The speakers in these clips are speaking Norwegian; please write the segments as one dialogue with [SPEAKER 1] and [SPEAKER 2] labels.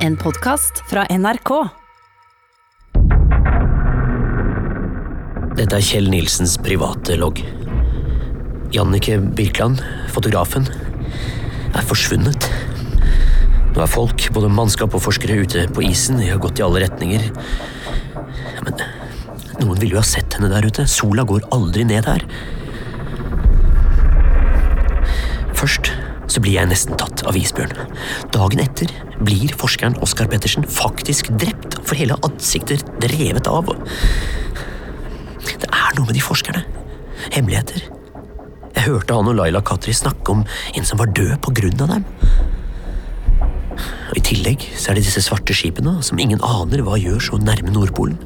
[SPEAKER 1] En podkast fra NRK.
[SPEAKER 2] Dette er Kjell Nilsens private logg. Jannike Birkeland, fotografen, er forsvunnet. Nå er folk, både mannskap og forskere, ute på isen. De har gått i alle retninger. Men noen ville jo ha sett henne der ute. Sola går aldri ned her. Først så blir jeg nesten tatt av isbjørn. Dagen etter blir forskeren Oskar Pettersen faktisk drept, for hele ansikter revet av. og... Det er noe med de forskerne. Hemmeligheter. Jeg hørte han og Laila Katri snakke om en som var død på grunn av dem. Og I tillegg så er det disse svarte skipene som ingen aner hva gjør så nærme Nordpolen.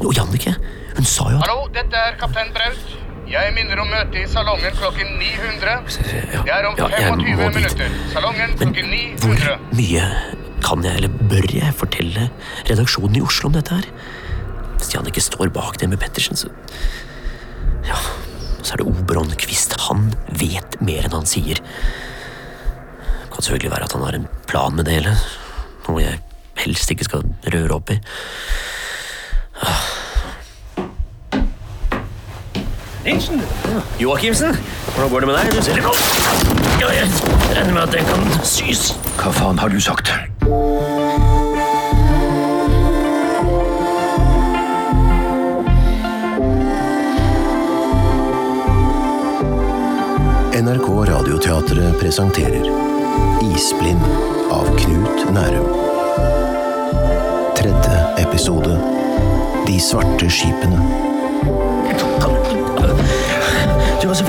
[SPEAKER 2] Og Jannicke, hun sa jo at
[SPEAKER 3] Hallo, dette er kaptein Braut. Jeg minner om møte i salongen klokken 900.
[SPEAKER 2] Ja,
[SPEAKER 3] Det er om
[SPEAKER 2] ja, jeg
[SPEAKER 3] 25
[SPEAKER 2] må dit.
[SPEAKER 3] minutter. Salongen
[SPEAKER 2] Men
[SPEAKER 3] klokken
[SPEAKER 2] hvor
[SPEAKER 3] 900.
[SPEAKER 2] mye kan jeg, eller bør jeg, fortelle redaksjonen i Oslo om dette her? Hvis Jannicke står bak det med Pettersen, så Ja, så er det Oberon Kvist. Han vet mer enn han sier. Kan selvfølgelig være at han har en plan med det hele. Noe jeg helst ikke skal røre opp i. Nilsen! Joakimsen, hvordan går det med deg? Du ser litt blå Ja, jeg regner med at den kan sys.
[SPEAKER 4] Hva faen har du sagt?
[SPEAKER 5] NRK Radioteatret presenterer Isblind av Knut Nærum. Tredje episode De svarte skipene.
[SPEAKER 2] Du, altså,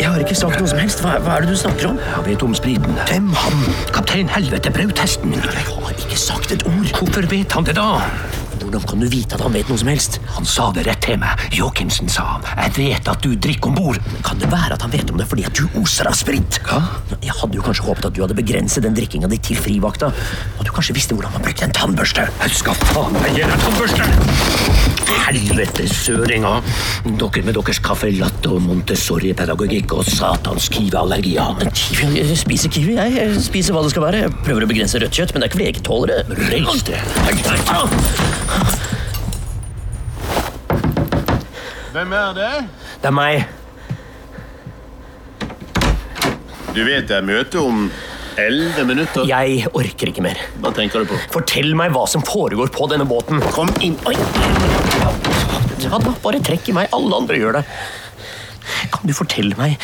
[SPEAKER 2] jeg har ikke sagt noe som helst. Hva, hva er det du snakker om?
[SPEAKER 4] Jeg vet om spriten.
[SPEAKER 2] Hvem han?
[SPEAKER 4] Kaptein Helvete Braut, hesten min.
[SPEAKER 2] Jeg har ikke sagt et ord.
[SPEAKER 4] Hvorfor vet han det da?
[SPEAKER 2] Hvordan kan du vite at han vet noe som helst?
[SPEAKER 4] Han sa det rett til meg. Joachimsen sa han. Jeg vet at du drikker om bord.
[SPEAKER 2] Kan det være at han vet om det fordi at du oser av sprit?
[SPEAKER 4] Hva?
[SPEAKER 2] Jeg hadde jo kanskje håpet at du hadde begrenset den drikkinga di til frivakta. Og at du kanskje visste hvordan man brukte en tannbørste.
[SPEAKER 4] Jeg skal faen meg gi deg tannbørste! Helvete søringa! Dere med deres caffè latte og Montessori-pedagogikk og satans kiwi-allergier.
[SPEAKER 2] Kiwi, jeg spiser kiwi, jeg. jeg. Spiser hva det skal være. Jeg prøver å begrense rødt kjøtt, men det er ikke fordi jeg ikke tåler det.
[SPEAKER 4] Reis deg!
[SPEAKER 2] Au!
[SPEAKER 6] Hvem er det?
[SPEAKER 2] Det er meg.
[SPEAKER 6] Du vet det er møte om elleve minutter.
[SPEAKER 2] Jeg orker ikke mer.
[SPEAKER 6] Hva tenker du på?
[SPEAKER 2] Fortell meg hva som foregår på denne båten. Kom inn. Oi. Ja, da, bare trekk i meg. Alle andre gjør det. Kan du fortelle meg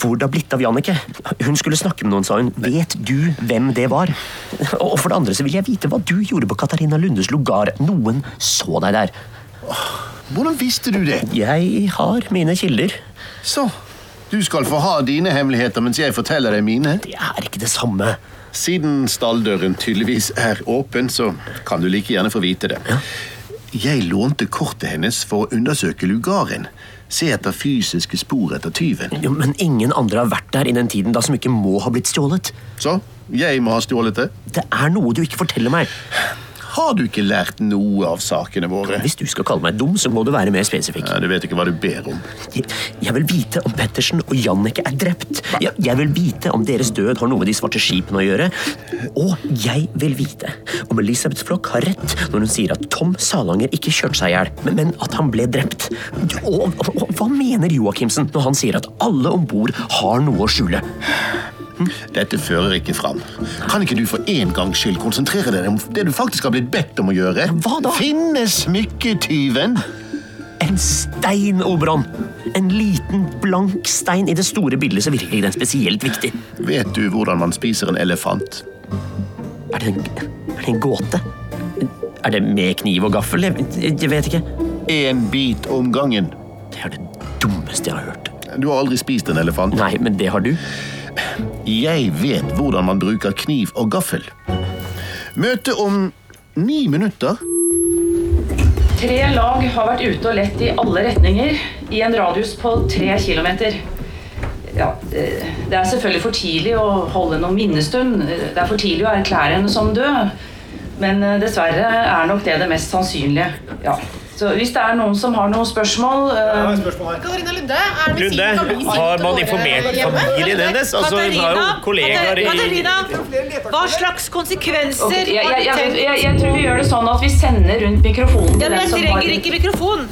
[SPEAKER 2] hvor det har blitt av Jannicke? Hun skulle snakke med noen, sa hun. Vet du hvem det var? Og for det andre så vil jeg vite hva du gjorde på Katarina Lundes lugar. Noen så deg der.
[SPEAKER 6] Hvordan visste du det?
[SPEAKER 2] Jeg har mine kilder.
[SPEAKER 6] Så, du skal få ha dine hemmeligheter mens jeg forteller deg mine.
[SPEAKER 2] Det er ikke det samme.
[SPEAKER 6] Siden stalldøren tydeligvis er åpen, så kan du like gjerne få vite det. Jeg lånte kortet hennes for å undersøke lugaren. Se etter fysiske spor etter tyven.
[SPEAKER 2] Jo, men ingen andre har vært der i den tiden da som ikke må ha blitt stjålet.
[SPEAKER 6] Så, jeg må ha stjålet det.
[SPEAKER 2] Det er noe du ikke forteller meg.
[SPEAKER 6] Har du ikke lært noe av sakene våre?
[SPEAKER 2] Hvis du skal kalle meg dum, så må du være mer spesifikk.
[SPEAKER 6] Ja, du vet ikke hva du ber om.
[SPEAKER 2] Jeg, jeg vil vite om Pettersen og Jannicke er drept. Jeg, jeg vil vite om deres død har noe med de svarte skipene å gjøre. Og jeg vil vite om Elisabeth Flokk har rett når hun sier at Tom Salanger ikke kjørte seg i hjel, men, men at han ble drept. Og, og, og hva mener Joachimsen når han sier at alle om bord har noe å skjule?
[SPEAKER 6] Dette fører ikke fram. Kan ikke du for en gangs skyld konsentrere deg om det du faktisk har blitt bedt om å gjøre?
[SPEAKER 2] hva da?
[SPEAKER 6] Finne smykketyven!
[SPEAKER 2] En stein, Oberon! En liten, blank stein. I det store bildet så virker ikke den spesielt viktig.
[SPEAKER 6] Vet du hvordan man spiser en elefant?
[SPEAKER 2] Er det, en, er det en gåte? Er det med kniv og gaffel? Jeg, jeg vet ikke.
[SPEAKER 6] Én bit om gangen.
[SPEAKER 2] Det er det dummeste jeg har hørt.
[SPEAKER 6] Du har aldri spist en elefant.
[SPEAKER 2] Nei, men det har du.
[SPEAKER 6] Jeg vet hvordan man bruker kniv og gaffel. Møte om ni minutter.
[SPEAKER 7] Tre lag har vært ute og lett i alle retninger i en radius på tre kilometer. Ja, eh, det er selvfølgelig for tidlig å holde noen minnestund. Eh, Det er for tidlig å erklære henne som død. Men eh, dessverre er nok det det mest sannsynlige. Ja,
[SPEAKER 8] Så hvis det er noen som har noen spørsmål eh,
[SPEAKER 9] Katarina Lunde, er det
[SPEAKER 2] Lunde,
[SPEAKER 9] sikkert vi sitter
[SPEAKER 2] har man
[SPEAKER 9] våre
[SPEAKER 2] informert
[SPEAKER 9] hjemme?
[SPEAKER 2] familien hennes? Altså, hun har jo kollegaer i
[SPEAKER 9] Katarina, hva slags konsekvenser
[SPEAKER 8] ok, jeg,
[SPEAKER 9] har
[SPEAKER 8] jeg,
[SPEAKER 9] du
[SPEAKER 8] jeg,
[SPEAKER 9] tenkt?
[SPEAKER 8] jeg, jeg tror vi gjør det sånn at vi sender rundt mikrofonen til
[SPEAKER 9] Ja, men
[SPEAKER 8] den
[SPEAKER 9] jeg
[SPEAKER 8] som har
[SPEAKER 9] trenger ikke mikrofon.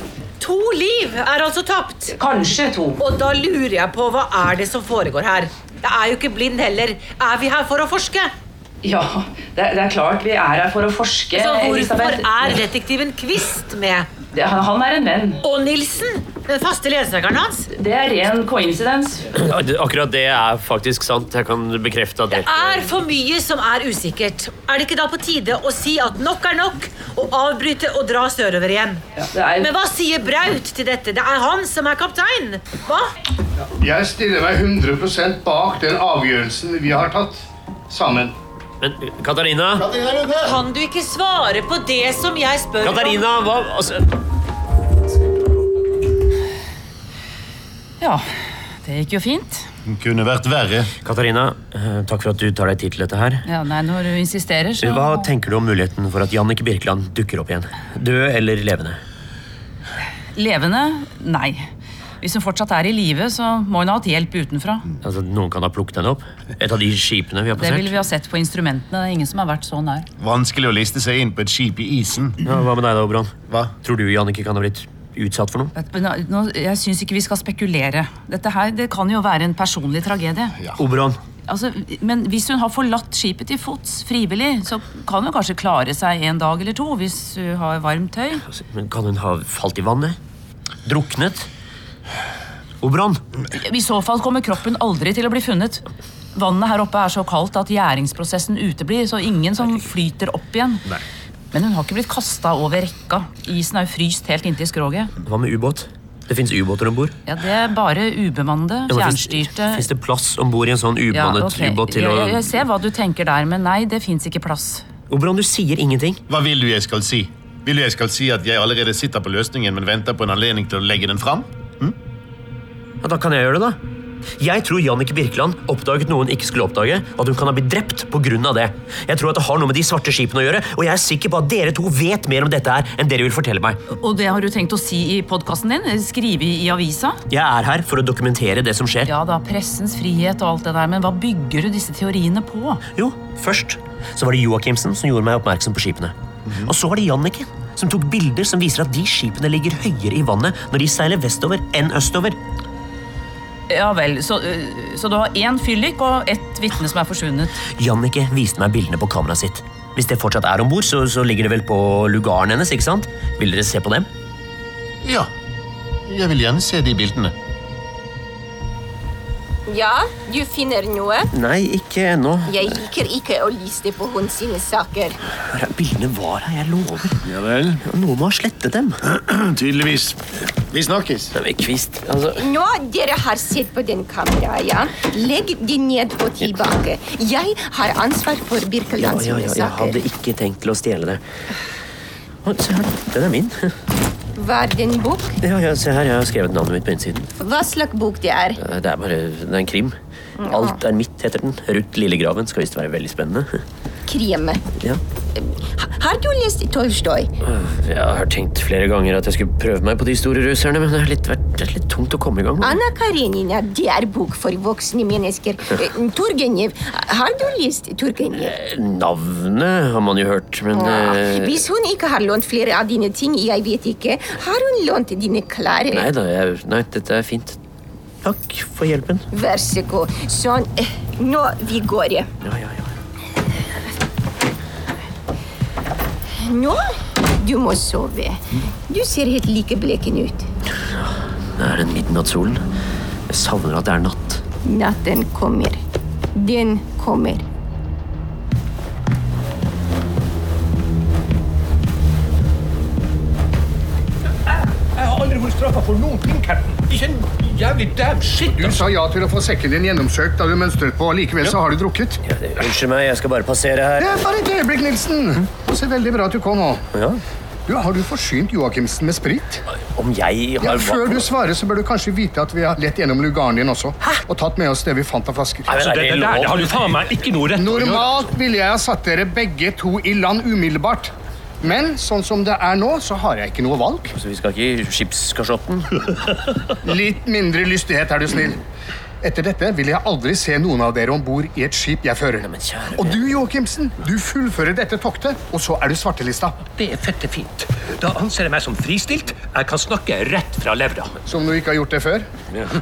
[SPEAKER 9] To liv er altså tapt.
[SPEAKER 8] Kanskje to.
[SPEAKER 9] Og da lurer jeg på hva er det som foregår her? Jeg er jo ikke blind heller. Er vi her for å forske?
[SPEAKER 8] Ja, det, er- det er klart vi er her for å forske.
[SPEAKER 9] Så Altså,
[SPEAKER 8] Eh,
[SPEAKER 9] hvorfor
[SPEAKER 8] Elisabeth.
[SPEAKER 9] er detektiven Kvist med?
[SPEAKER 8] Det- han- Han er en venn.
[SPEAKER 9] Og Nilsen, den faste ledsageren hans.
[SPEAKER 8] Det er ren koinsidens.
[SPEAKER 2] Ja, det- Akkurat det er faktisk sant. Jeg kan bekrefte at det
[SPEAKER 9] er for mye som er usikkert. Er det ikke da på tide å si at nok er nok, og avbryte og dra sørover igjen?
[SPEAKER 8] Det er,
[SPEAKER 9] Men hva sier Braut til dette? Det er han som er kaptein. Hva?
[SPEAKER 3] Jeg stiller meg 100 bak den avgjørelsen vi har tatt sammen.
[SPEAKER 2] Men Katarina?
[SPEAKER 9] Kan du ikke svare på det som jeg spør om?
[SPEAKER 2] Katarina, hva altså,
[SPEAKER 7] Ja, det gikk jo fint.
[SPEAKER 6] Den kunne vært verre.
[SPEAKER 2] Katarina, eh, takk for at du tar deg tid til dette her.
[SPEAKER 7] Ja, nei, Når du insisterer, så
[SPEAKER 2] Hva tenker du om muligheten for at Jannicke Birkeland dukker opp igjen? Død eller levende?
[SPEAKER 7] Levende? Nei. Hvis hun fortsatt er i live, så må hun ha hatt hjelp utenfra.
[SPEAKER 8] Mm.
[SPEAKER 2] Altså, Noen kan ha plukket henne opp? Et av de skipene vi har
[SPEAKER 7] Det ville
[SPEAKER 2] passert?
[SPEAKER 7] vi ha sett på instrumentene. Det er ingen som har vært så nær.
[SPEAKER 6] Vanskelig å liste seg inn på et skip i isen.
[SPEAKER 2] Ja, hva med deg da, Obron?
[SPEAKER 6] Hva?
[SPEAKER 2] Tror du Jannicke kan ha blitt utsatt for noe?
[SPEAKER 7] Vet du, nå- eh, Nå, jeg syns ikke vi skal spekulere. Dette her det kan jo være en personlig tragedie.
[SPEAKER 2] Obron,
[SPEAKER 7] Altså, men hvis hun har forlatt skipet til fots frivillig, så kan hun kanskje klare seg en dag eller to hvis hun har varmt tøy.
[SPEAKER 2] altså, men kan hun ha falt i vannet? Druknet? Obron?
[SPEAKER 7] I så fall kommer kroppen aldri til å bli funnet. Vannet her oppe er så kaldt at gjæringsprosessen uteblir, så ingen som flyter opp igjen. Men hun har ikke blitt kasta over rekka. Isen er jo fryst helt inntil skroget.
[SPEAKER 2] Hva med ubåt? Det fins ubåter om bord.
[SPEAKER 7] Ja, Det er bare ubemannede, fjernstyrte
[SPEAKER 2] Fins det plass om bord i en sånn
[SPEAKER 7] Ja,
[SPEAKER 2] ubemannet
[SPEAKER 7] ok.
[SPEAKER 2] ubåt til
[SPEAKER 7] jeg,
[SPEAKER 2] å
[SPEAKER 7] jeg, jeg ser hva du tenker der, men nei, det fins ikke plass.
[SPEAKER 2] Obron, du sier ingenting.
[SPEAKER 6] Hva vil du jeg skal si? Vil du jeg skal si at jeg allerede sitter på løsningen, men venter på en anledning til å legge den fram?
[SPEAKER 2] Ja, Da kan jeg gjøre det, da. Jeg tror Jannicke Birkeland oppdaget noe hun ikke skulle oppdage. og At hun kan ha blitt drept på grunn av det. Jeg tror at det har noe med de svarte skipene å gjøre, og jeg er sikker på at dere to vet mer om dette her enn dere vil fortelle meg.
[SPEAKER 7] Og det har du tenkt å si i podkasten din? Skrive i i avisa?
[SPEAKER 2] Jeg er her for å dokumentere det som skjer.
[SPEAKER 7] Ja da, pressens frihet og alt det der, men hva bygger du disse teoriene på?
[SPEAKER 2] Jo, først så var det Joakimsen som gjorde meg oppmerksom på skipene.
[SPEAKER 10] Mhm.
[SPEAKER 2] Og så var det Jannicke som tok bilder som viser at de skipene ligger høyere i vannet når de seiler vestover enn østover.
[SPEAKER 7] Ja vel, så, øh, så du har én fyllik og ett vitne som er forsvunnet.
[SPEAKER 2] Jannicke viste meg bildene på kameraet sitt. Hvis det fortsatt er om bord, så, så ligger det vel på lugaren hennes, ikke sant? Vil dere se på dem?
[SPEAKER 6] Ja. Jeg vil gjerne se de bildene.
[SPEAKER 11] Ja, du finner noe.
[SPEAKER 10] Nei, ikke ennå.
[SPEAKER 11] Jeg liker ikke å liste på hun sine saker.
[SPEAKER 10] Bildene var her, jeg lover.
[SPEAKER 6] Ja vel.
[SPEAKER 10] Noen må ha slettet dem.
[SPEAKER 6] Tydeligvis. Vi snakkes.
[SPEAKER 10] Kvist, altså...
[SPEAKER 11] Nå dere har sett på den kameraet, ja. Legg de ned og tilbake. Jeg har ansvar for
[SPEAKER 10] Ja, ja,
[SPEAKER 11] Birkeland sine
[SPEAKER 10] ja, jeg hadde
[SPEAKER 11] saker.
[SPEAKER 10] ikke tenkt til å stjele det. Å, se her, den er min.
[SPEAKER 11] Var det en bok?
[SPEAKER 10] Ja, ja, se her, jeg har skrevet navnet mitt på innsiden.
[SPEAKER 11] Hva slags bok det er?
[SPEAKER 10] Eh, Det er bare, det er en krim. Alt er mitt, heter den. Ruth Lillegraven skal visst være veldig spennende.
[SPEAKER 11] Krim.
[SPEAKER 10] Ja. Øh,
[SPEAKER 11] Ha- Har du lest Tolstoy?
[SPEAKER 10] Jeg har tenkt flere ganger at jeg skulle prøve meg på de store russerne, men det er litt, vært- det er litt tungt å komme i gang. med.
[SPEAKER 11] Anna Karenina, det er bok for voksne mennesker. Eh, Turgenev, har du lest Turgenev?
[SPEAKER 10] Eh, Navnet har man jo hørt, men...
[SPEAKER 11] Ja.
[SPEAKER 10] eh,
[SPEAKER 11] Hvis hun ikke har lånt flere av dine ting, jeg vet ikke, har hun lånt dine klær?
[SPEAKER 10] Nei da, jeg, nei, dette er fint. Takk for hjelpen.
[SPEAKER 11] Vær så god. Sånn. eh, Nå vi går.
[SPEAKER 10] Ja, ja, ja.
[SPEAKER 11] Nå? Du må sove. Du ser helt like bleken ut.
[SPEAKER 10] Det er den midnattssolen. Jeg savner at det er natt.
[SPEAKER 11] Natten kommer. Den kommer.
[SPEAKER 4] Jeg har aldri vært straffa for noen ting, Captain. Ikke en jævlig dæv shit.
[SPEAKER 3] Du sa ja til å få sekken din gjennomsøkt da du mønstret på, og likevel så har du drukket.
[SPEAKER 10] Ja, det- Unnskyld meg, jeg skal bare passere her.
[SPEAKER 3] Det er bare et øyeblikk, Nilsen. Det ser veldig bra at du kom nå.
[SPEAKER 10] Ja.
[SPEAKER 3] Du, har du forsynt Joakimsen med sprit?
[SPEAKER 10] Om jeg
[SPEAKER 3] Ja,
[SPEAKER 10] har
[SPEAKER 3] før du svarer, så bør du kanskje vite at vi har lett gjennom lugaren din også. Og tatt med oss det vi fant av flasker.
[SPEAKER 10] Nei, men
[SPEAKER 4] Så det, det der det har du faen meg ikke noe rett til å gjøre.
[SPEAKER 3] Normalt ville jeg ha satt dere begge to i land umiddelbart. Men sånn som det er nå, så har jeg ikke noe valg.
[SPEAKER 2] Så vi skal ikke i skipskarsotten?
[SPEAKER 3] Litt mindre lystighet, er du snill. Etter dette vil jeg aldri se noen av dere om bord i et skip jeg fører. Og du, Joachimsen, du fullfører dette toktet, og så er du svartelista.
[SPEAKER 4] Det er fette fint. Da anser jeg meg som fristilt. Jeg kan snakke rett fra levra.
[SPEAKER 3] Som du ikke har gjort det før.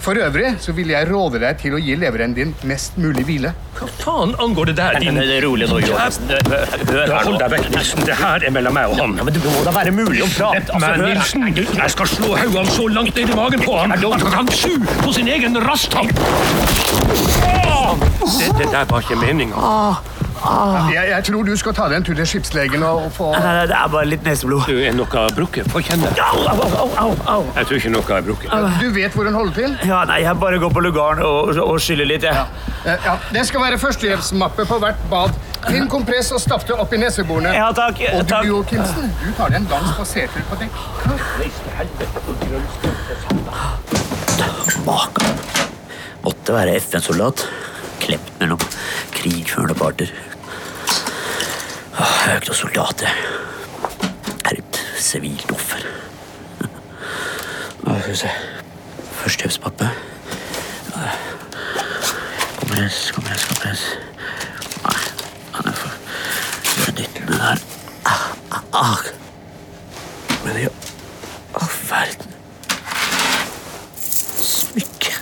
[SPEAKER 3] For øvrig så vil jeg råde deg til å gi leveren din mest mulig hvile.
[SPEAKER 4] Hva faen angår det der,
[SPEAKER 2] Nei, nei, det er rolig nå, Johansen. Det- hør- hør her nå.
[SPEAKER 4] Hold deg vekk, Nilsen. Det her er mellom meg og han.
[SPEAKER 2] men Det må da være mulig å prate?
[SPEAKER 12] Altså,
[SPEAKER 4] Slipp meg, Nilsen. Jeg skal slå haugene så langt ned i magen på han at han kan su på sin egen rasthamp. Det, det der var ikke meninga.
[SPEAKER 3] Jeg, jeg tror du skal ta deg en tur til skipslegen og få
[SPEAKER 2] Ah.
[SPEAKER 12] Nei, det er bare litt neseblod.
[SPEAKER 4] Du, er noe brukket? Få kjenne.
[SPEAKER 12] Au, au, au, au, au.
[SPEAKER 4] Jeg tror ikke noe er brukket.
[SPEAKER 3] Du vet hvor hun holder til?
[SPEAKER 12] Ja, nei, jeg bare går på lugaren og, og skyller litt, jeg.
[SPEAKER 3] Eh, Ja, det skal være førstehjelpsmappe på hvert bad. Finn kompress og stapp det opp i neseborene.
[SPEAKER 12] Ja, takk.
[SPEAKER 3] Og du,
[SPEAKER 12] takk.
[SPEAKER 3] Joachimsen, du tar deg en dans på seter på dekk.
[SPEAKER 2] Baka. Måtte være FN-soldat. Klept mellom krigførende parter. Åh, Jeg er jo ikke noen soldat, jeg. Jeg er et sivilt offer. Nå skal vi se. Førstehjelpspappe. Eh, Kompress, kompress, kompress. Nei, han er for for dytten, den der. Ah, ah, ah. Men i all verden Smykke.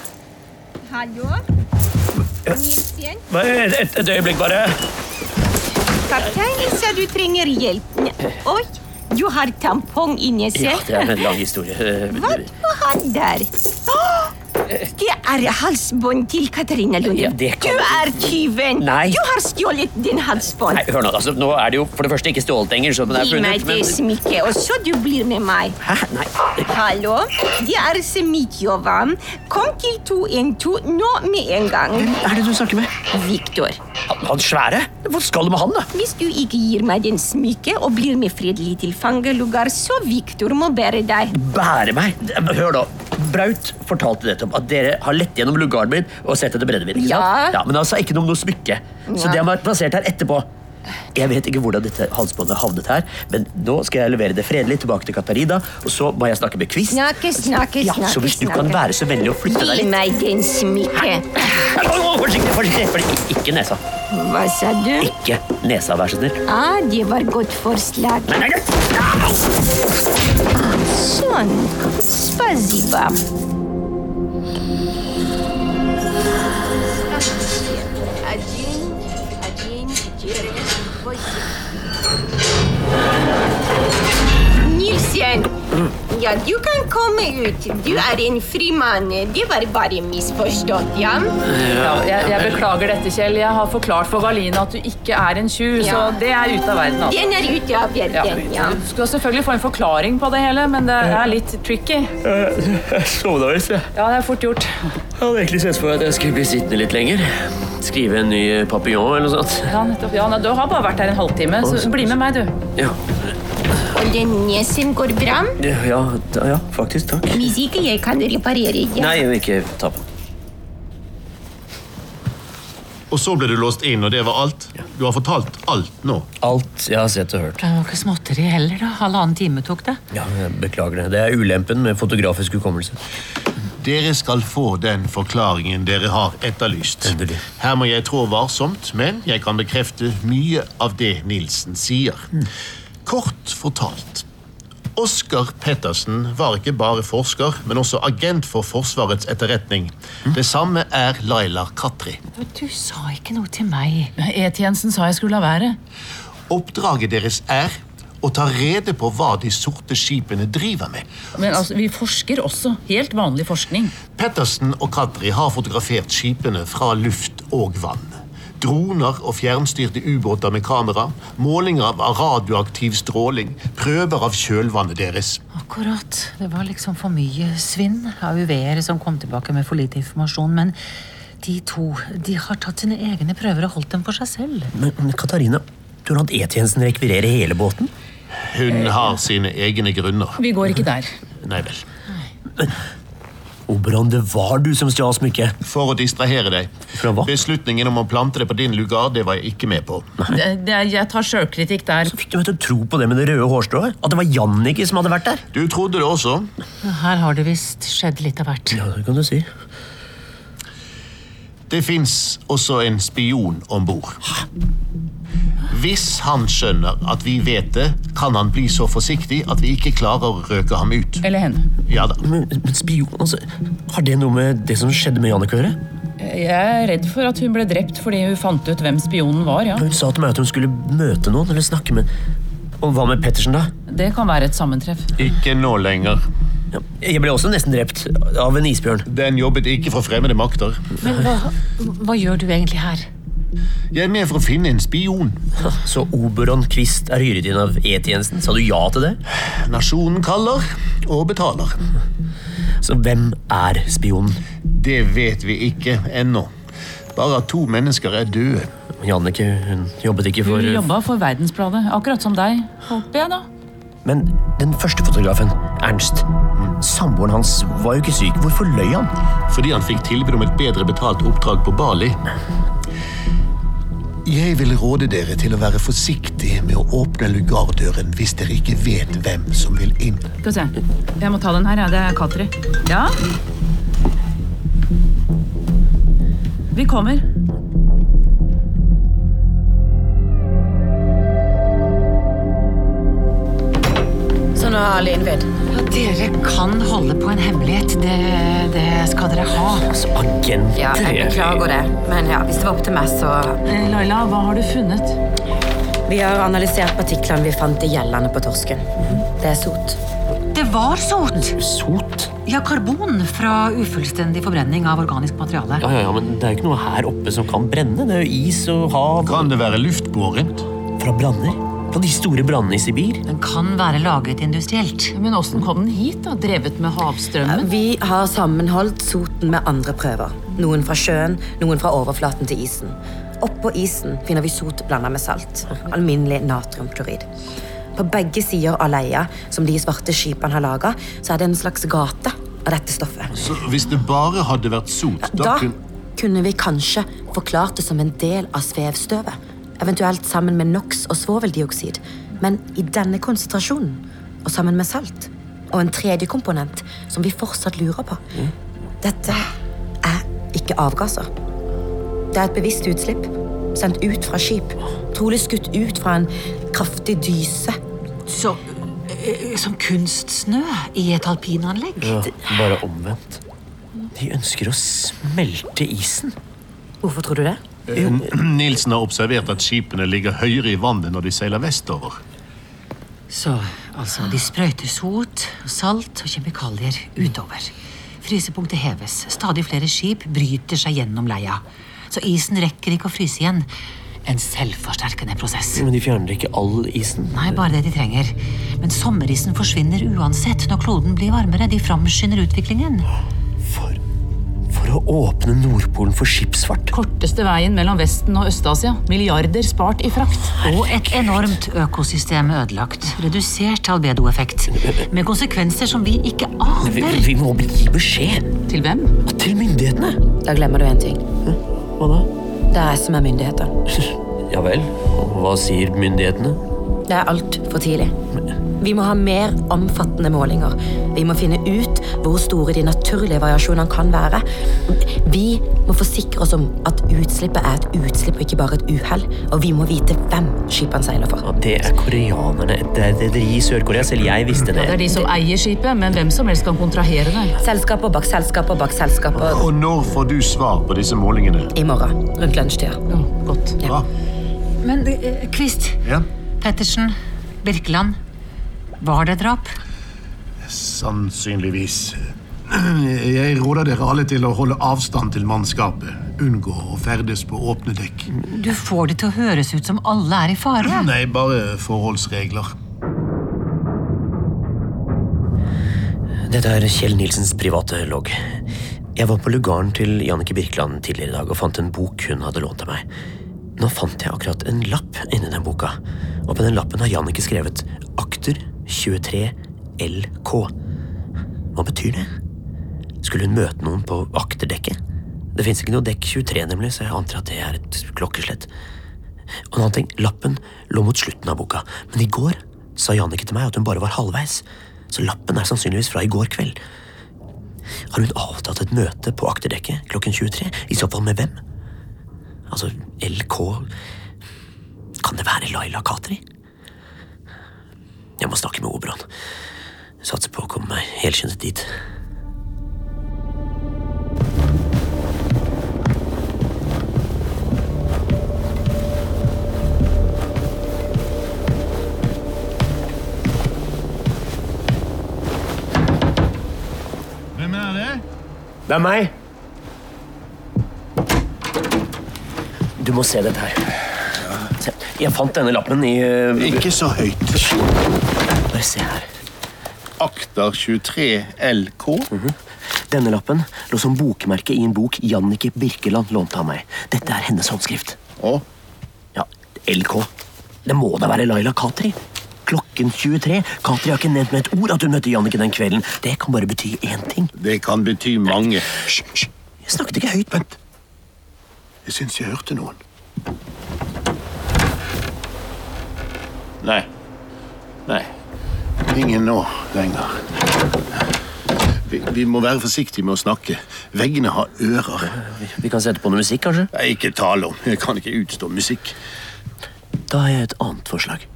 [SPEAKER 11] Hallo? Nilsen?
[SPEAKER 12] Bare et, et, et øyeblikk, bare.
[SPEAKER 11] Kapteinen sa du trenger hjelp. Ne- Oi, du har tampong i nesen.
[SPEAKER 2] Ja, det er en lang historie. Eh,
[SPEAKER 11] Hva du har der? Åh, Det er halsbånd til Katarina Lunde.
[SPEAKER 2] Ah! Ja, det kan-
[SPEAKER 11] Du er tyven!
[SPEAKER 2] Nei.
[SPEAKER 11] Du har stjålet din halsbånd.
[SPEAKER 2] Nei, hør Nå altså, nå er det jo for det første ikke stjålet lenger. så den er
[SPEAKER 11] Gi meg
[SPEAKER 2] funnet,
[SPEAKER 11] det smykket, og så du blir med meg.
[SPEAKER 2] Hæ? Nei.
[SPEAKER 11] Hallo, det er Semitjova. Kom til 212 nå med en gang.
[SPEAKER 2] Hvem er det du snakker med?
[SPEAKER 11] Viktor,
[SPEAKER 2] Han, han svære? Hva skal du med han, da?
[SPEAKER 11] hvis du ikke gir meg den smykket og blir med fredelig til fangelugar, så Viktor må bære deg.
[SPEAKER 2] Bære meg? Hør nå. Braut fortalte nettopp at dere har lett gjennom lugaren min og sett etter brennevin. ikke sant?
[SPEAKER 11] Ja.
[SPEAKER 2] ja. Men han sa ikke noe om noe smykke. Så
[SPEAKER 11] Nei.
[SPEAKER 2] det har vært plassert her etterpå. Jeg vet ikke hvordan dette halsbåndet havnet her, men nå skal jeg levere det fredelig tilbake til Katarina, og så må jeg snakke med Kvist.
[SPEAKER 11] Snakke, snakke,
[SPEAKER 2] Ja,
[SPEAKER 11] snakke.
[SPEAKER 2] så hvis du kan
[SPEAKER 11] snakke.
[SPEAKER 2] være så vennlig å flytte deg
[SPEAKER 11] Gi
[SPEAKER 2] litt
[SPEAKER 11] meg den smykket.
[SPEAKER 2] Au, au, Forsiktig, forsiktig! forsiktig. Ikke nesa.
[SPEAKER 11] Hva sa du?
[SPEAKER 2] Ikke nesa, vær så snill.
[SPEAKER 11] Ah, det var godt forslag. Sånn. Spasiba. Nilsen! Ja, du kan komme ut. Du er en fri mann. Det var bare misforstått, ja?
[SPEAKER 7] Ja, jeg, jeg beklager dette, Kjell. Jeg har forklart for Valine at du ikke er en tjuv, så
[SPEAKER 11] Ja.
[SPEAKER 7] det er ute av verden. Altså.
[SPEAKER 11] Den er ute av
[SPEAKER 7] Ja.
[SPEAKER 11] verden, ja.
[SPEAKER 7] Du skal selvfølgelig få en forklaring på det hele, men det er litt tricky.
[SPEAKER 2] Jeg sovna visst, jeg.
[SPEAKER 7] Ja, det er fort gjort.
[SPEAKER 2] Jeg hadde egentlig sett for meg at jeg skulle bli sittende litt lenger. Skrive en ny eh, papillon eller noe sånt.
[SPEAKER 7] Ja, nettopp. Ja, nei, du har bare vært her en halvtime, så bli med meg, du.
[SPEAKER 2] Ja,
[SPEAKER 11] Og den nesen går bra.
[SPEAKER 2] ja, da- ja faktisk. Takk.
[SPEAKER 11] Hvis ikke jeg kan reparere. Ja.
[SPEAKER 2] Nei, jeg vil ikke ta på.
[SPEAKER 6] Og så ble du låst inn, og det var alt? Du har fortalt alt nå.
[SPEAKER 2] Alt jeg har sett og hørt.
[SPEAKER 9] Det var ikke småtteri heller, da. Halvannen time tok det.
[SPEAKER 2] Ja, jeg Beklager det. Det er ulempen med fotografisk hukommelse.
[SPEAKER 6] Dere skal få den forklaringen dere har etterlyst.
[SPEAKER 2] Endelig.
[SPEAKER 6] Her må jeg trå varsomt, men jeg kan bekrefte mye av det Nilsen sier. Kort fortalt. Oskar Pettersen var ikke bare forsker, men også agent for Forsvarets etterretning. Det samme er Laila Katri.
[SPEAKER 9] Du sa ikke noe til meg.
[SPEAKER 7] E-tjenesten sa jeg skulle la være.
[SPEAKER 6] Oppdraget deres er å ta rede på hva de sorte skipene driver med.
[SPEAKER 7] Men altså, vi forsker også. Helt vanlig forskning.
[SPEAKER 6] Pettersen og Kadri har fotografert skipene fra luft og vann. Droner og fjernstyrte ubåter med kamera, målinger av radioaktiv stråling, prøver av kjølvannet deres.
[SPEAKER 9] Akkurat. Det var liksom for mye svinn av UV-ere som kom tilbake med for lite informasjon. Men de to de har tatt sine egne prøver og holdt dem for seg selv.
[SPEAKER 2] Men, men Katarina, du har latt E-tjenesten rekvirere hele båten?
[SPEAKER 6] Hun har sine egne grunner.
[SPEAKER 7] Vi går ikke der.
[SPEAKER 6] Nei vel.
[SPEAKER 2] Oberon, det var du som stjal smykket.
[SPEAKER 6] For å distrahere deg. Beslutningen om å plante det på din lugar det var jeg ikke med på.
[SPEAKER 13] Det- det- Jeg tar sjølkritikk der.
[SPEAKER 2] Fikk du meg til å tro på det med det røde hårstrået? At det var Jannicke som hadde vært der?
[SPEAKER 6] Du trodde det også.
[SPEAKER 9] Her har det visst skjedd litt av hvert.
[SPEAKER 2] Ja, det kan du si.
[SPEAKER 6] Det fins også en spion om bord. Hvis han skjønner at vi vet det, kan han bli så forsiktig at vi ikke klarer å røke ham ut.
[SPEAKER 7] Eller henne.
[SPEAKER 6] Ja da.
[SPEAKER 2] Men, men spion, altså, Har det noe med det som skjedde med Jannicke å gjøre?
[SPEAKER 7] Jeg er redd for at hun ble drept fordi hun fant ut hvem spionen var, ja.
[SPEAKER 2] Hun sa til meg at hun skulle møte noen eller snakke med Og hva med Pettersen, da?
[SPEAKER 7] Det kan være et sammentreff.
[SPEAKER 6] Ikke nå lenger.
[SPEAKER 2] Jeg ble også nesten drept av en isbjørn.
[SPEAKER 6] Den jobbet ikke for fremmede makter.
[SPEAKER 9] Men hva, hva gjør du egentlig her?
[SPEAKER 6] Jeg er med for å finne en spion.
[SPEAKER 2] Så Oberon Quist er hyret inn av E-tjenesten? Sa du ja til det?
[SPEAKER 6] Nasjonen kaller og betaler.
[SPEAKER 2] Så hvem er spionen?
[SPEAKER 6] Det vet vi ikke ennå. Bare at to mennesker er døde.
[SPEAKER 2] Jannicke, hun jobbet ikke
[SPEAKER 7] Hun jobba for Verdensbladet, akkurat som deg. Håper jeg, da.
[SPEAKER 2] Men den første fotografen, Ernst, samboeren hans var jo ikke syk. Hvorfor løy han?
[SPEAKER 6] Fordi han fikk tilbud om et bedre betalt oppdrag på Bali. Jeg vil råde dere til å være forsiktige med å åpne lugardøren hvis dere ikke vet hvem som vil inn.
[SPEAKER 7] Skal vi se. Jeg må ta den her, ja. Det er Katri. Ja? Vi kommer.
[SPEAKER 13] Så nå er alle innvidd.
[SPEAKER 9] Dere kan holde på en hemmelighet. Det, det skal dere ha.
[SPEAKER 2] Altså, agenter
[SPEAKER 13] Ja, jeg beklager det. Men ja, hvis det var opp til meg, så
[SPEAKER 7] Eh, Laila, hva har du funnet?
[SPEAKER 13] Vi har analysert partiklene vi fant i gjellene på torsken. Det er sot.
[SPEAKER 9] Det var sot.
[SPEAKER 2] Sot?
[SPEAKER 9] Ja, karbon fra ufullstendig forbrenning av organisk materiale.
[SPEAKER 2] Ja, ja, ja, men Det er jo ikke noe her oppe som kan brenne. Det er jo is og hav.
[SPEAKER 6] Kan det være luftbåret?
[SPEAKER 2] Fra branner? Fra de store brannene i Sibir?
[SPEAKER 9] Den kan være laget industrielt.
[SPEAKER 7] Men åssen kom den hit, da? Drevet med havstrømmen?
[SPEAKER 13] Vi har sammenholdt soten med andre prøver. Noen fra sjøen, noen fra overflaten til isen. Oppå isen finner vi sot blanda med salt. Alminnelig natriumklorid. På begge sider av leia som de svarte skipene har laga, så er det en slags gate av dette stoffet.
[SPEAKER 6] Så hvis det bare hadde vært sot,
[SPEAKER 13] Da kunne vi kanskje forklart det som en del av svevstøvet. Eventuelt sammen med NOx og svoveldioksid. Men i denne konsentrasjonen, og sammen med salt. Og en tredje komponent som vi fortsatt lurer på. Dette er ikke avgasser. Det er et bevisst utslipp. Sendt ut fra skip. Trolig skutt ut fra en kraftig dyse.
[SPEAKER 9] Så, eh, som kunstsnø i et alpinanlegg?
[SPEAKER 2] Ja, bare omvendt. De ønsker å smelte isen.
[SPEAKER 13] Hvorfor tror du det?
[SPEAKER 6] Nilsen har observert at skipene ligger høyere i vannet når de seiler vestover.
[SPEAKER 9] Så altså, de sprøyter sot, salt og kjemikalier utover. Frysepunktet heves. Stadig flere skip bryter seg gjennom leia. Så isen rekker ikke å fryse igjen. En selvforsterkende prosess.
[SPEAKER 2] Men de fjerner ikke all isen.
[SPEAKER 9] Nei, bare det de trenger. Men sommerisen forsvinner uansett når kloden blir varmere. De framskynder utviklingen.
[SPEAKER 2] For å åpne Nordpolen for skipsfart.
[SPEAKER 7] Korteste veien mellom Vesten og Øst-Asia. Milliarder spart i frakt.
[SPEAKER 9] Og et enormt økosystem ødelagt. Redusert albedoeffekt. Med konsekvenser som vi ikke
[SPEAKER 2] Vi,
[SPEAKER 9] aner.
[SPEAKER 2] vi må gi beskjed.
[SPEAKER 7] Til hvem?
[SPEAKER 2] Til myndighetene.
[SPEAKER 13] Da glemmer du én ting.
[SPEAKER 2] Hva da?
[SPEAKER 13] Det er jeg som er myndighetene.
[SPEAKER 2] Ja vel. Og hva sier myndighetene?
[SPEAKER 13] Det er altfor tidlig. Vi må ha mer omfattende målinger. Vi må finne ut hvor store de naturlige variasjonene kan være. Vi må forsikre oss om at utslippet er et utslipp og ikke bare et uhell. Og vi må vite hvem skipene seiler for.
[SPEAKER 2] Det er koreanerne. Det er rederi i Sør-Korea. Selv jeg visste det.
[SPEAKER 7] Det er de som eier skipet, men hvem som helst kan kontrahere det.
[SPEAKER 13] Selskaper bak selskaper bak selskaper
[SPEAKER 6] Og når får du svar på disse målingene?
[SPEAKER 13] i morgen rundt lunsjtida.
[SPEAKER 7] Godt.
[SPEAKER 6] Ja.
[SPEAKER 9] Men eh, Kvist,
[SPEAKER 6] Ja.
[SPEAKER 9] Pettersen, Birkeland. Var det drap?
[SPEAKER 6] Sannsynligvis.
[SPEAKER 14] Jeg råder dere alle til å holde avstand til mannskapet. Unngå å ferdes på åpne dekk.
[SPEAKER 9] Du får det til å høres ut som alle er i fare.
[SPEAKER 6] Nei, bare forholdsregler.
[SPEAKER 2] Dette er Kjell Nilsens private logg. Jeg var på lugaren til Jannicke Birkeland tidligere i dag og fant en bok hun hadde lånt av meg. Nå fant jeg akkurat en lapp inni den boka, og på den lappen har Jannicke skrevet Akter 23 LK. Hva betyr det? Skulle hun møte noen på akterdekket? Det fins ikke noe dekk 23, nemlig, så jeg antar at det er et klokkeslett. Og en annen ting, lappen lå mot slutten av boka, men i går sa Jannicke til meg at hun bare var halvveis, så lappen er sannsynligvis fra i går kveld. Har hun avtalt et møte på akterdekket klokken 23? I så fall med hvem? Altså LK Kan det være Laila Katri? Jeg må snakke med Oberon. Satser på å komme meg helskinnet dit.
[SPEAKER 15] Hvem er det?
[SPEAKER 2] Det er meg. Du må se dette her. Se, Jeg fant denne lappen i Ikke
[SPEAKER 6] så høyt.
[SPEAKER 2] Bare se her.
[SPEAKER 6] Akter 23 LK.
[SPEAKER 2] Denne lappen lå som bokmerke i en bok Jannicke Birkeland lånte av meg. Dette er hennes håndskrift.
[SPEAKER 6] Og?
[SPEAKER 2] Ja, LK. Det må da være Laila Katri. Klokken 23. Katri har ikke nevnt med et ord at hun møtte Jannicke den kvelden. Det kan bare bety én ting.
[SPEAKER 6] Det kan bety mange.
[SPEAKER 2] Hysj, hysj. Jeg snakket ikke høyt. Vent.
[SPEAKER 6] Jeg syns jeg hørte noen. Nei. Nei. Ingen nå lenger. Vi, vi må være forsiktige med å snakke. Veggene har ører.
[SPEAKER 2] Vi, kan sette på noe musikk, kanskje?
[SPEAKER 6] Nei, ikke tale om. Jeg kan ikke utstå musikk.
[SPEAKER 2] Da har jeg et annet forslag.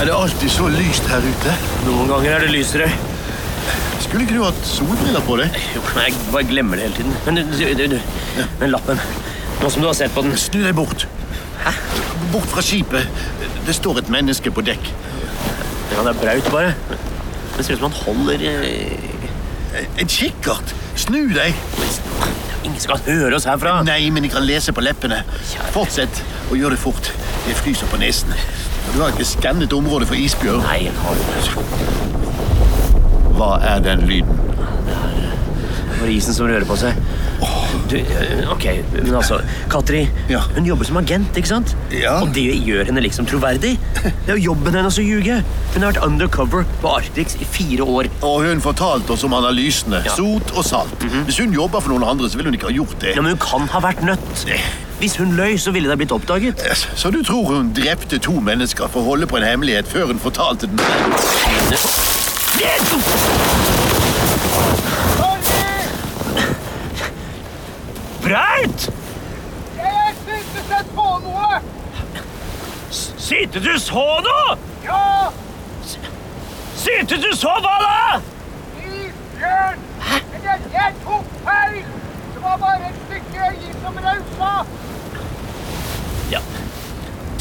[SPEAKER 6] Er det alltid så lyst her ute?
[SPEAKER 2] Noen ganger er det lysere.
[SPEAKER 6] Skulle ikke du hatt solbriller på deg?
[SPEAKER 2] Jo, men jeg bare glemmer det hele tiden. Men du, du, du, du. Men lappen. Nå som du har sett på den.
[SPEAKER 6] Snu deg bort.
[SPEAKER 2] Hæ?
[SPEAKER 6] Bort fra skipet. Det står et menneske på dekk.
[SPEAKER 2] Ja, det er braut, bare. Det ser ut som han holder eh,
[SPEAKER 6] En kikkert! Snu deg!
[SPEAKER 2] Ingen skal høre oss herfra.
[SPEAKER 6] Nei, men jeg kan lese på leppene. Fortsett, og gjør det fort. Jeg fryser på nesen. Du har ikke skannet området for isbjørn.
[SPEAKER 2] Nei, jeg har det.
[SPEAKER 6] Hva er den lyden?
[SPEAKER 2] Det var isen som rører på seg. Du, eh, ok, men altså, Katri, hun jobber som agent, ikke sant? Og det gjør henne liksom troverdig. Det er jo jobben hennes å ljuge. Hun har vært undercover på Arctic i fire år.
[SPEAKER 6] Og hun fortalte oss om analysene. Sot og salt. Hvis hun jobber for noen andre, så ville hun ikke ha gjort det.
[SPEAKER 2] Ja, men hun kan ha vært nødt. Hvis hun løy, så ville det blitt oppdaget.
[SPEAKER 6] Så du tror hun drepte to mennesker for å holde på en hemmelighet før hun fortalte den?
[SPEAKER 16] Braut!
[SPEAKER 17] Jeg syntes jeg så noe!
[SPEAKER 16] Sitte du så noe?
[SPEAKER 17] Ja,
[SPEAKER 16] Sitte du så hva da?
[SPEAKER 17] isbjørn! Men jeg, jeg tok feil! Det var bare et stykke is som rausa!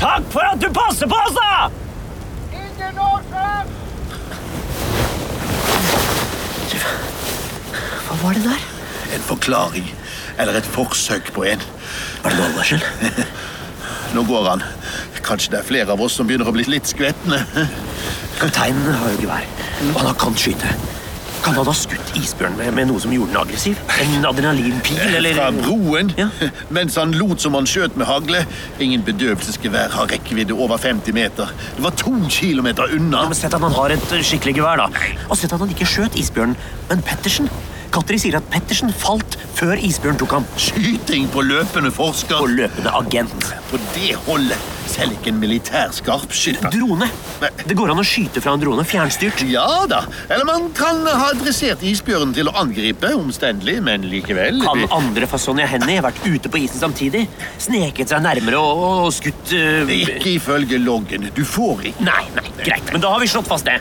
[SPEAKER 16] Takk for at du passer på oss, da!
[SPEAKER 17] Ingen årsak!
[SPEAKER 2] Hva var det der?
[SPEAKER 6] En forklaring. Eller et forsøk på en.
[SPEAKER 2] Var det voldvarsel?
[SPEAKER 6] Nå går han. Kanskje det er flere av oss som begynner å bli litt skvetne.
[SPEAKER 2] Kapteinen har jo gevær. Og han kan skyte. Kan han ha skutt isbjørnen med, med noe som gjorde den aggressiv? En adrenalinpil, eller
[SPEAKER 6] Fra broen, mens han lot som han skjøt med hagle. Ingen bedøvelsesgevær har rekkevidde over 50 meter. Det var to kilometer unna.
[SPEAKER 2] Men Sett at han har et eh, skikkelig gevær, da. Og sett at han ikke skjøt isbjørnen, men Pettersen. Katri sier at Pettersen falt før isbjørnen tok ham.
[SPEAKER 6] Skyting på løpende forsker. På
[SPEAKER 2] løpende agent.
[SPEAKER 6] På det holdet. Selv ikke en militær skarpskytter.
[SPEAKER 2] Drone. Det går an å skyte fra en drone. Fjernstyrt.
[SPEAKER 6] Ja da. Eller man kan ha dressert isbjørnen til å angripe. Omstendelig, men likevel.
[SPEAKER 2] Kan andre fra Sonja Hennie vært ute på isen samtidig? Sneket seg nærmere og, og- og skutt eh,
[SPEAKER 6] Ikke ifølge loggen. Du får ikke.
[SPEAKER 2] Nei, nei, greit. Men da har vi slått fast det.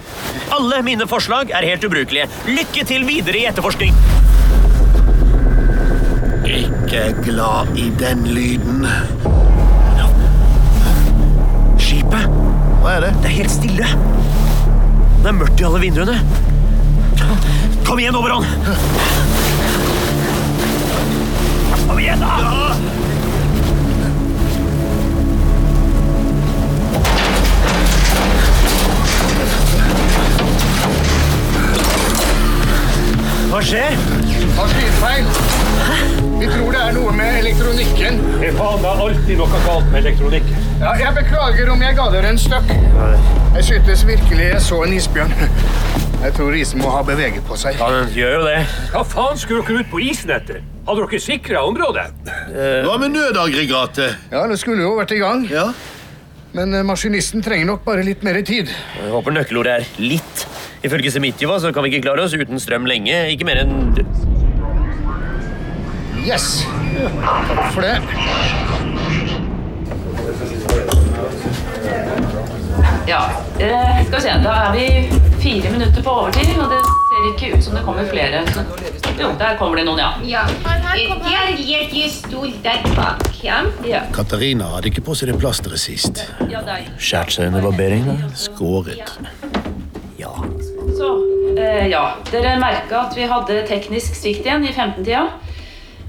[SPEAKER 2] Alle mine forslag er helt ubrukelige. Lykke til videre i etterforskning.
[SPEAKER 6] Ikke glad i den lyden.
[SPEAKER 2] Skipet.
[SPEAKER 6] Hva er det?
[SPEAKER 2] Det er helt stille. Det er mørkt i alle vinduene. Kom igjen, Oberon! Kom igjen, da! Hva skjer?
[SPEAKER 3] Maskinfeil. Vi tror det er noe med elektronikken.
[SPEAKER 4] faen, det er alltid noe galt med elektronikken.
[SPEAKER 3] Ja, jeg beklager om jeg ga dere en støkk. Jeg syntes virkelig jeg så en isbjørn. Jeg tror isen må ha beveget på seg.
[SPEAKER 2] Ja, den gjør jo det.
[SPEAKER 4] Hva faen skulle dere ut på isen etter? Hadde dere sikra området?
[SPEAKER 6] Eh.
[SPEAKER 18] Hva med nødaggregatet?
[SPEAKER 3] Ja, det skulle jo vært i gang. Men eh, maskinisten trenger nok bare litt mer tid.
[SPEAKER 2] Jeg håper nøkkelordet er litt. Ifølge Semitiva så kan vi ikke klare oss uten strøm lenge. Ikke mer enn
[SPEAKER 3] Yes! Takk for det.
[SPEAKER 7] Ja, eh, skal vi se. Da er vi fire minutter på overtid, og det ser ikke ut som det kommer flere. Så, jo, der kommer det noen, ja.
[SPEAKER 11] Ja, jeg gir deg stol der bak, ja?
[SPEAKER 7] Ja.
[SPEAKER 18] Katarina hadde ikke på seg det plasteret sist.
[SPEAKER 7] ja deg.
[SPEAKER 18] Skjært seg under barberingen? Skåret.
[SPEAKER 7] Så, eh, ja. Dere merka at vi hadde teknisk svikt igjen i 15-tida.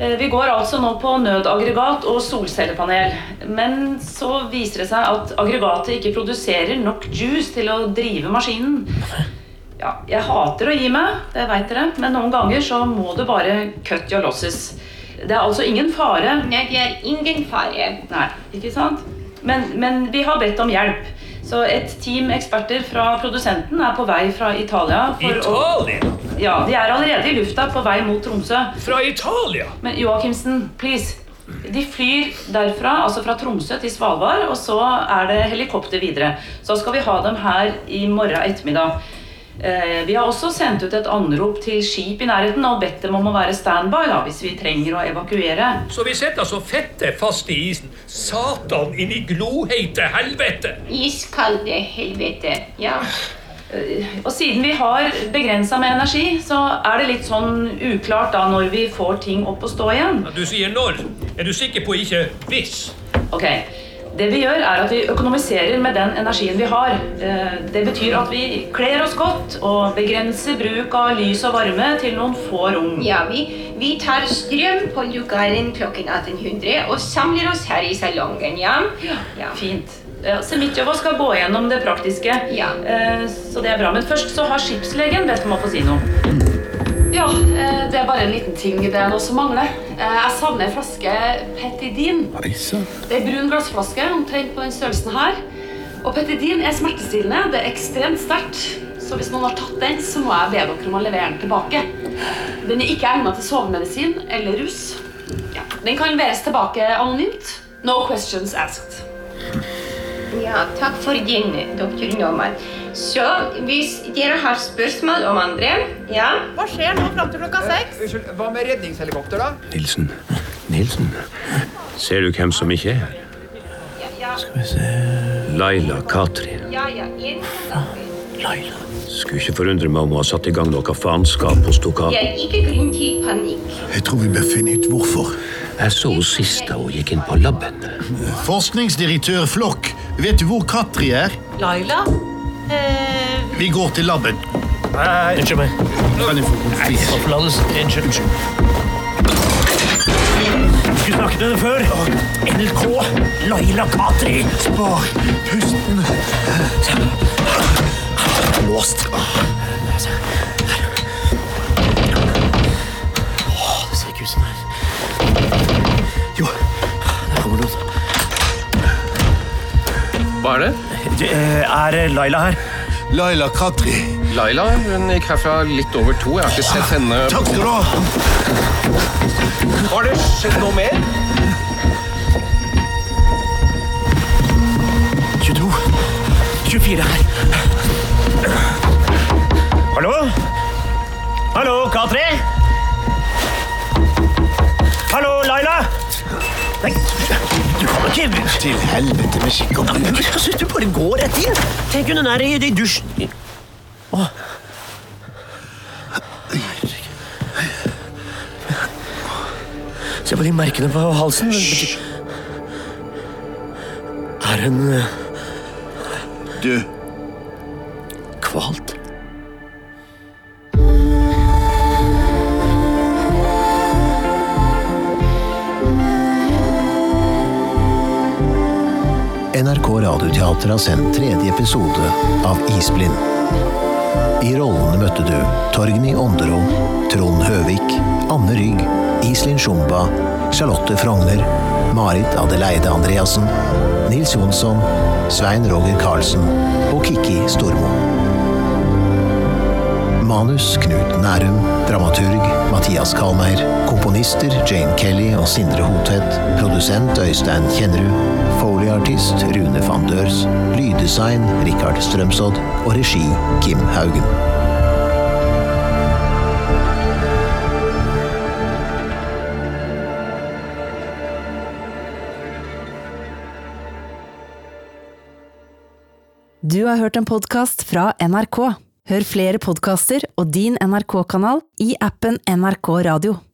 [SPEAKER 7] Eh, Vi går altså nå på nødaggregat og solcellepanel. Men så viser det seg at aggregatet ikke produserer nok juice til å drive maskinen. Ja, jeg hater å gi meg, det veit dere, men noen ganger så må du bare cut your losses. Det er altså ingen fare.
[SPEAKER 11] Nei, det er ingen fare.
[SPEAKER 7] Nei, ikke sant? Men, men vi har bedt om hjelp. Så et team eksperter fra produsenten er på vei fra Italia for å ja, de er allerede i lufta på vei mot Tromsø.
[SPEAKER 4] Fra Italia?
[SPEAKER 7] Men Joakimsen, please. De flyr derfra, altså fra Tromsø til Svalbard, og så er det helikopter videre. Så skal vi ha dem her i morgen ettermiddag. Eh, vi har også sendt ut et anrop til skip i nærheten og bedt dem om å være standby da, hvis vi trenger å evakuere.
[SPEAKER 4] Så vi sitter altså fette fast i isen. Satan inn i gloheite helvete!
[SPEAKER 11] Iskalde helvete, ja.
[SPEAKER 7] Og siden vi har begrensa med energi, så er det litt sånn uklart da når vi får ting opp og stå igjen.
[SPEAKER 4] Du sier når. Er du sikker på ikke hvis?
[SPEAKER 7] Ok, det vi gjør er at vi økonomiserer med den energien vi har. Eh, Det betyr at vi kler oss godt og begrenser bruk av lys og varme til noen få rom.
[SPEAKER 11] Ja, vi, vi tar strøm på lugaren klokken 1800 og samler oss her i salongen, ja? Ja,
[SPEAKER 7] fint. Ja, Semitjova skal gå gjennom det praktiske, Eh, så det er bra. Men først så har skipslegen bedt om å få si noe.
[SPEAKER 19] Ja, eh, det er bare en liten ting det er noe som mangler. Eh, Jeg savner en flaske Petidin. Det er en brun glassflaske, omtrent på den størrelsen her. Og Petidin er smertestillende. Det er ekstremt sterkt. Så hvis noen har tatt den, så må jeg be dere om å levere den tilbake. Den er ikke egnet til sovemedisin eller rus. Ja, den kan leveres tilbake anonymt. No questions asked.
[SPEAKER 11] Ja, takk for din, doktor Norman. Så hvis dere har spørsmål om andre, ja? Hva skjer nå fram til klokka seks?
[SPEAKER 20] Unnskyld, hva med redningshelikopter, da?
[SPEAKER 4] Nilsen. Nilsen? Ser du hvem som ikke er her? Skal vi se Laila Katri.
[SPEAKER 11] Ja, ja, en
[SPEAKER 4] Laila. Skulle ikke forundre meg om hun har satt i gang noe faenskap hos dere.
[SPEAKER 11] Det er ikke grunn til panikk.
[SPEAKER 4] Jeg tror vi bør finne ut hvorfor. Jeg så henne sist da hun gikk inn på laben.
[SPEAKER 6] Forskningsdirektør Flokk, vet du hvor Katri er?
[SPEAKER 9] Laila? Eh,
[SPEAKER 6] Vi går til laben. Unnskyld meg. Kan jeg få konfis? Unnskyld.
[SPEAKER 2] Skulle snakket med henne før. NRK. Laila Katri. Spar pusten. Låst. Åh, det ser ikke ut som det er Jo, der kommer noen.
[SPEAKER 21] Hva er det?
[SPEAKER 2] eh, Er Laila her?
[SPEAKER 21] Laila Katri. Laila? Hun gikk herfra litt over to. Jeg har ikke sett henne
[SPEAKER 22] Takk skal du
[SPEAKER 21] ha! Har det skjedd noe mer?
[SPEAKER 2] 22. 24 her. Hallo? Hallo, Katri? Hallo, Laila? Nei, du kan ikke Til helvete med skikk og bruk. Du bare går rett inn. Tenk hun er i, i dusjen. Åh. Se på de merkene på halsen. Hysj! Er hun eh,
[SPEAKER 18] Død.
[SPEAKER 2] Kvalt?
[SPEAKER 5] NRK Radioteater har sendt tredje episode av Isblind. I rollene møtte du Torgny Åndero, Trond Høvik, Anne Rygg, Iselin Sjumba, Charlotte Frogner, Marit Adeleide Andreassen, Nils Jonsson, Svein Roger Karlsen og Kikki Stormo. Manus Knut Nærum, dramaturg Mathias Kalmeier, komponister Jane Kelly og Sindre Hotvedt, produsent Øystein Kjennerud, folieartist Rune van Dørs, lyddesign Rikard Strømsodd og regi Kim Haugen.
[SPEAKER 7] Du har hørt en podkast fra NRK. Hør flere podkaster og din NRK-kanal i appen NRK Radio.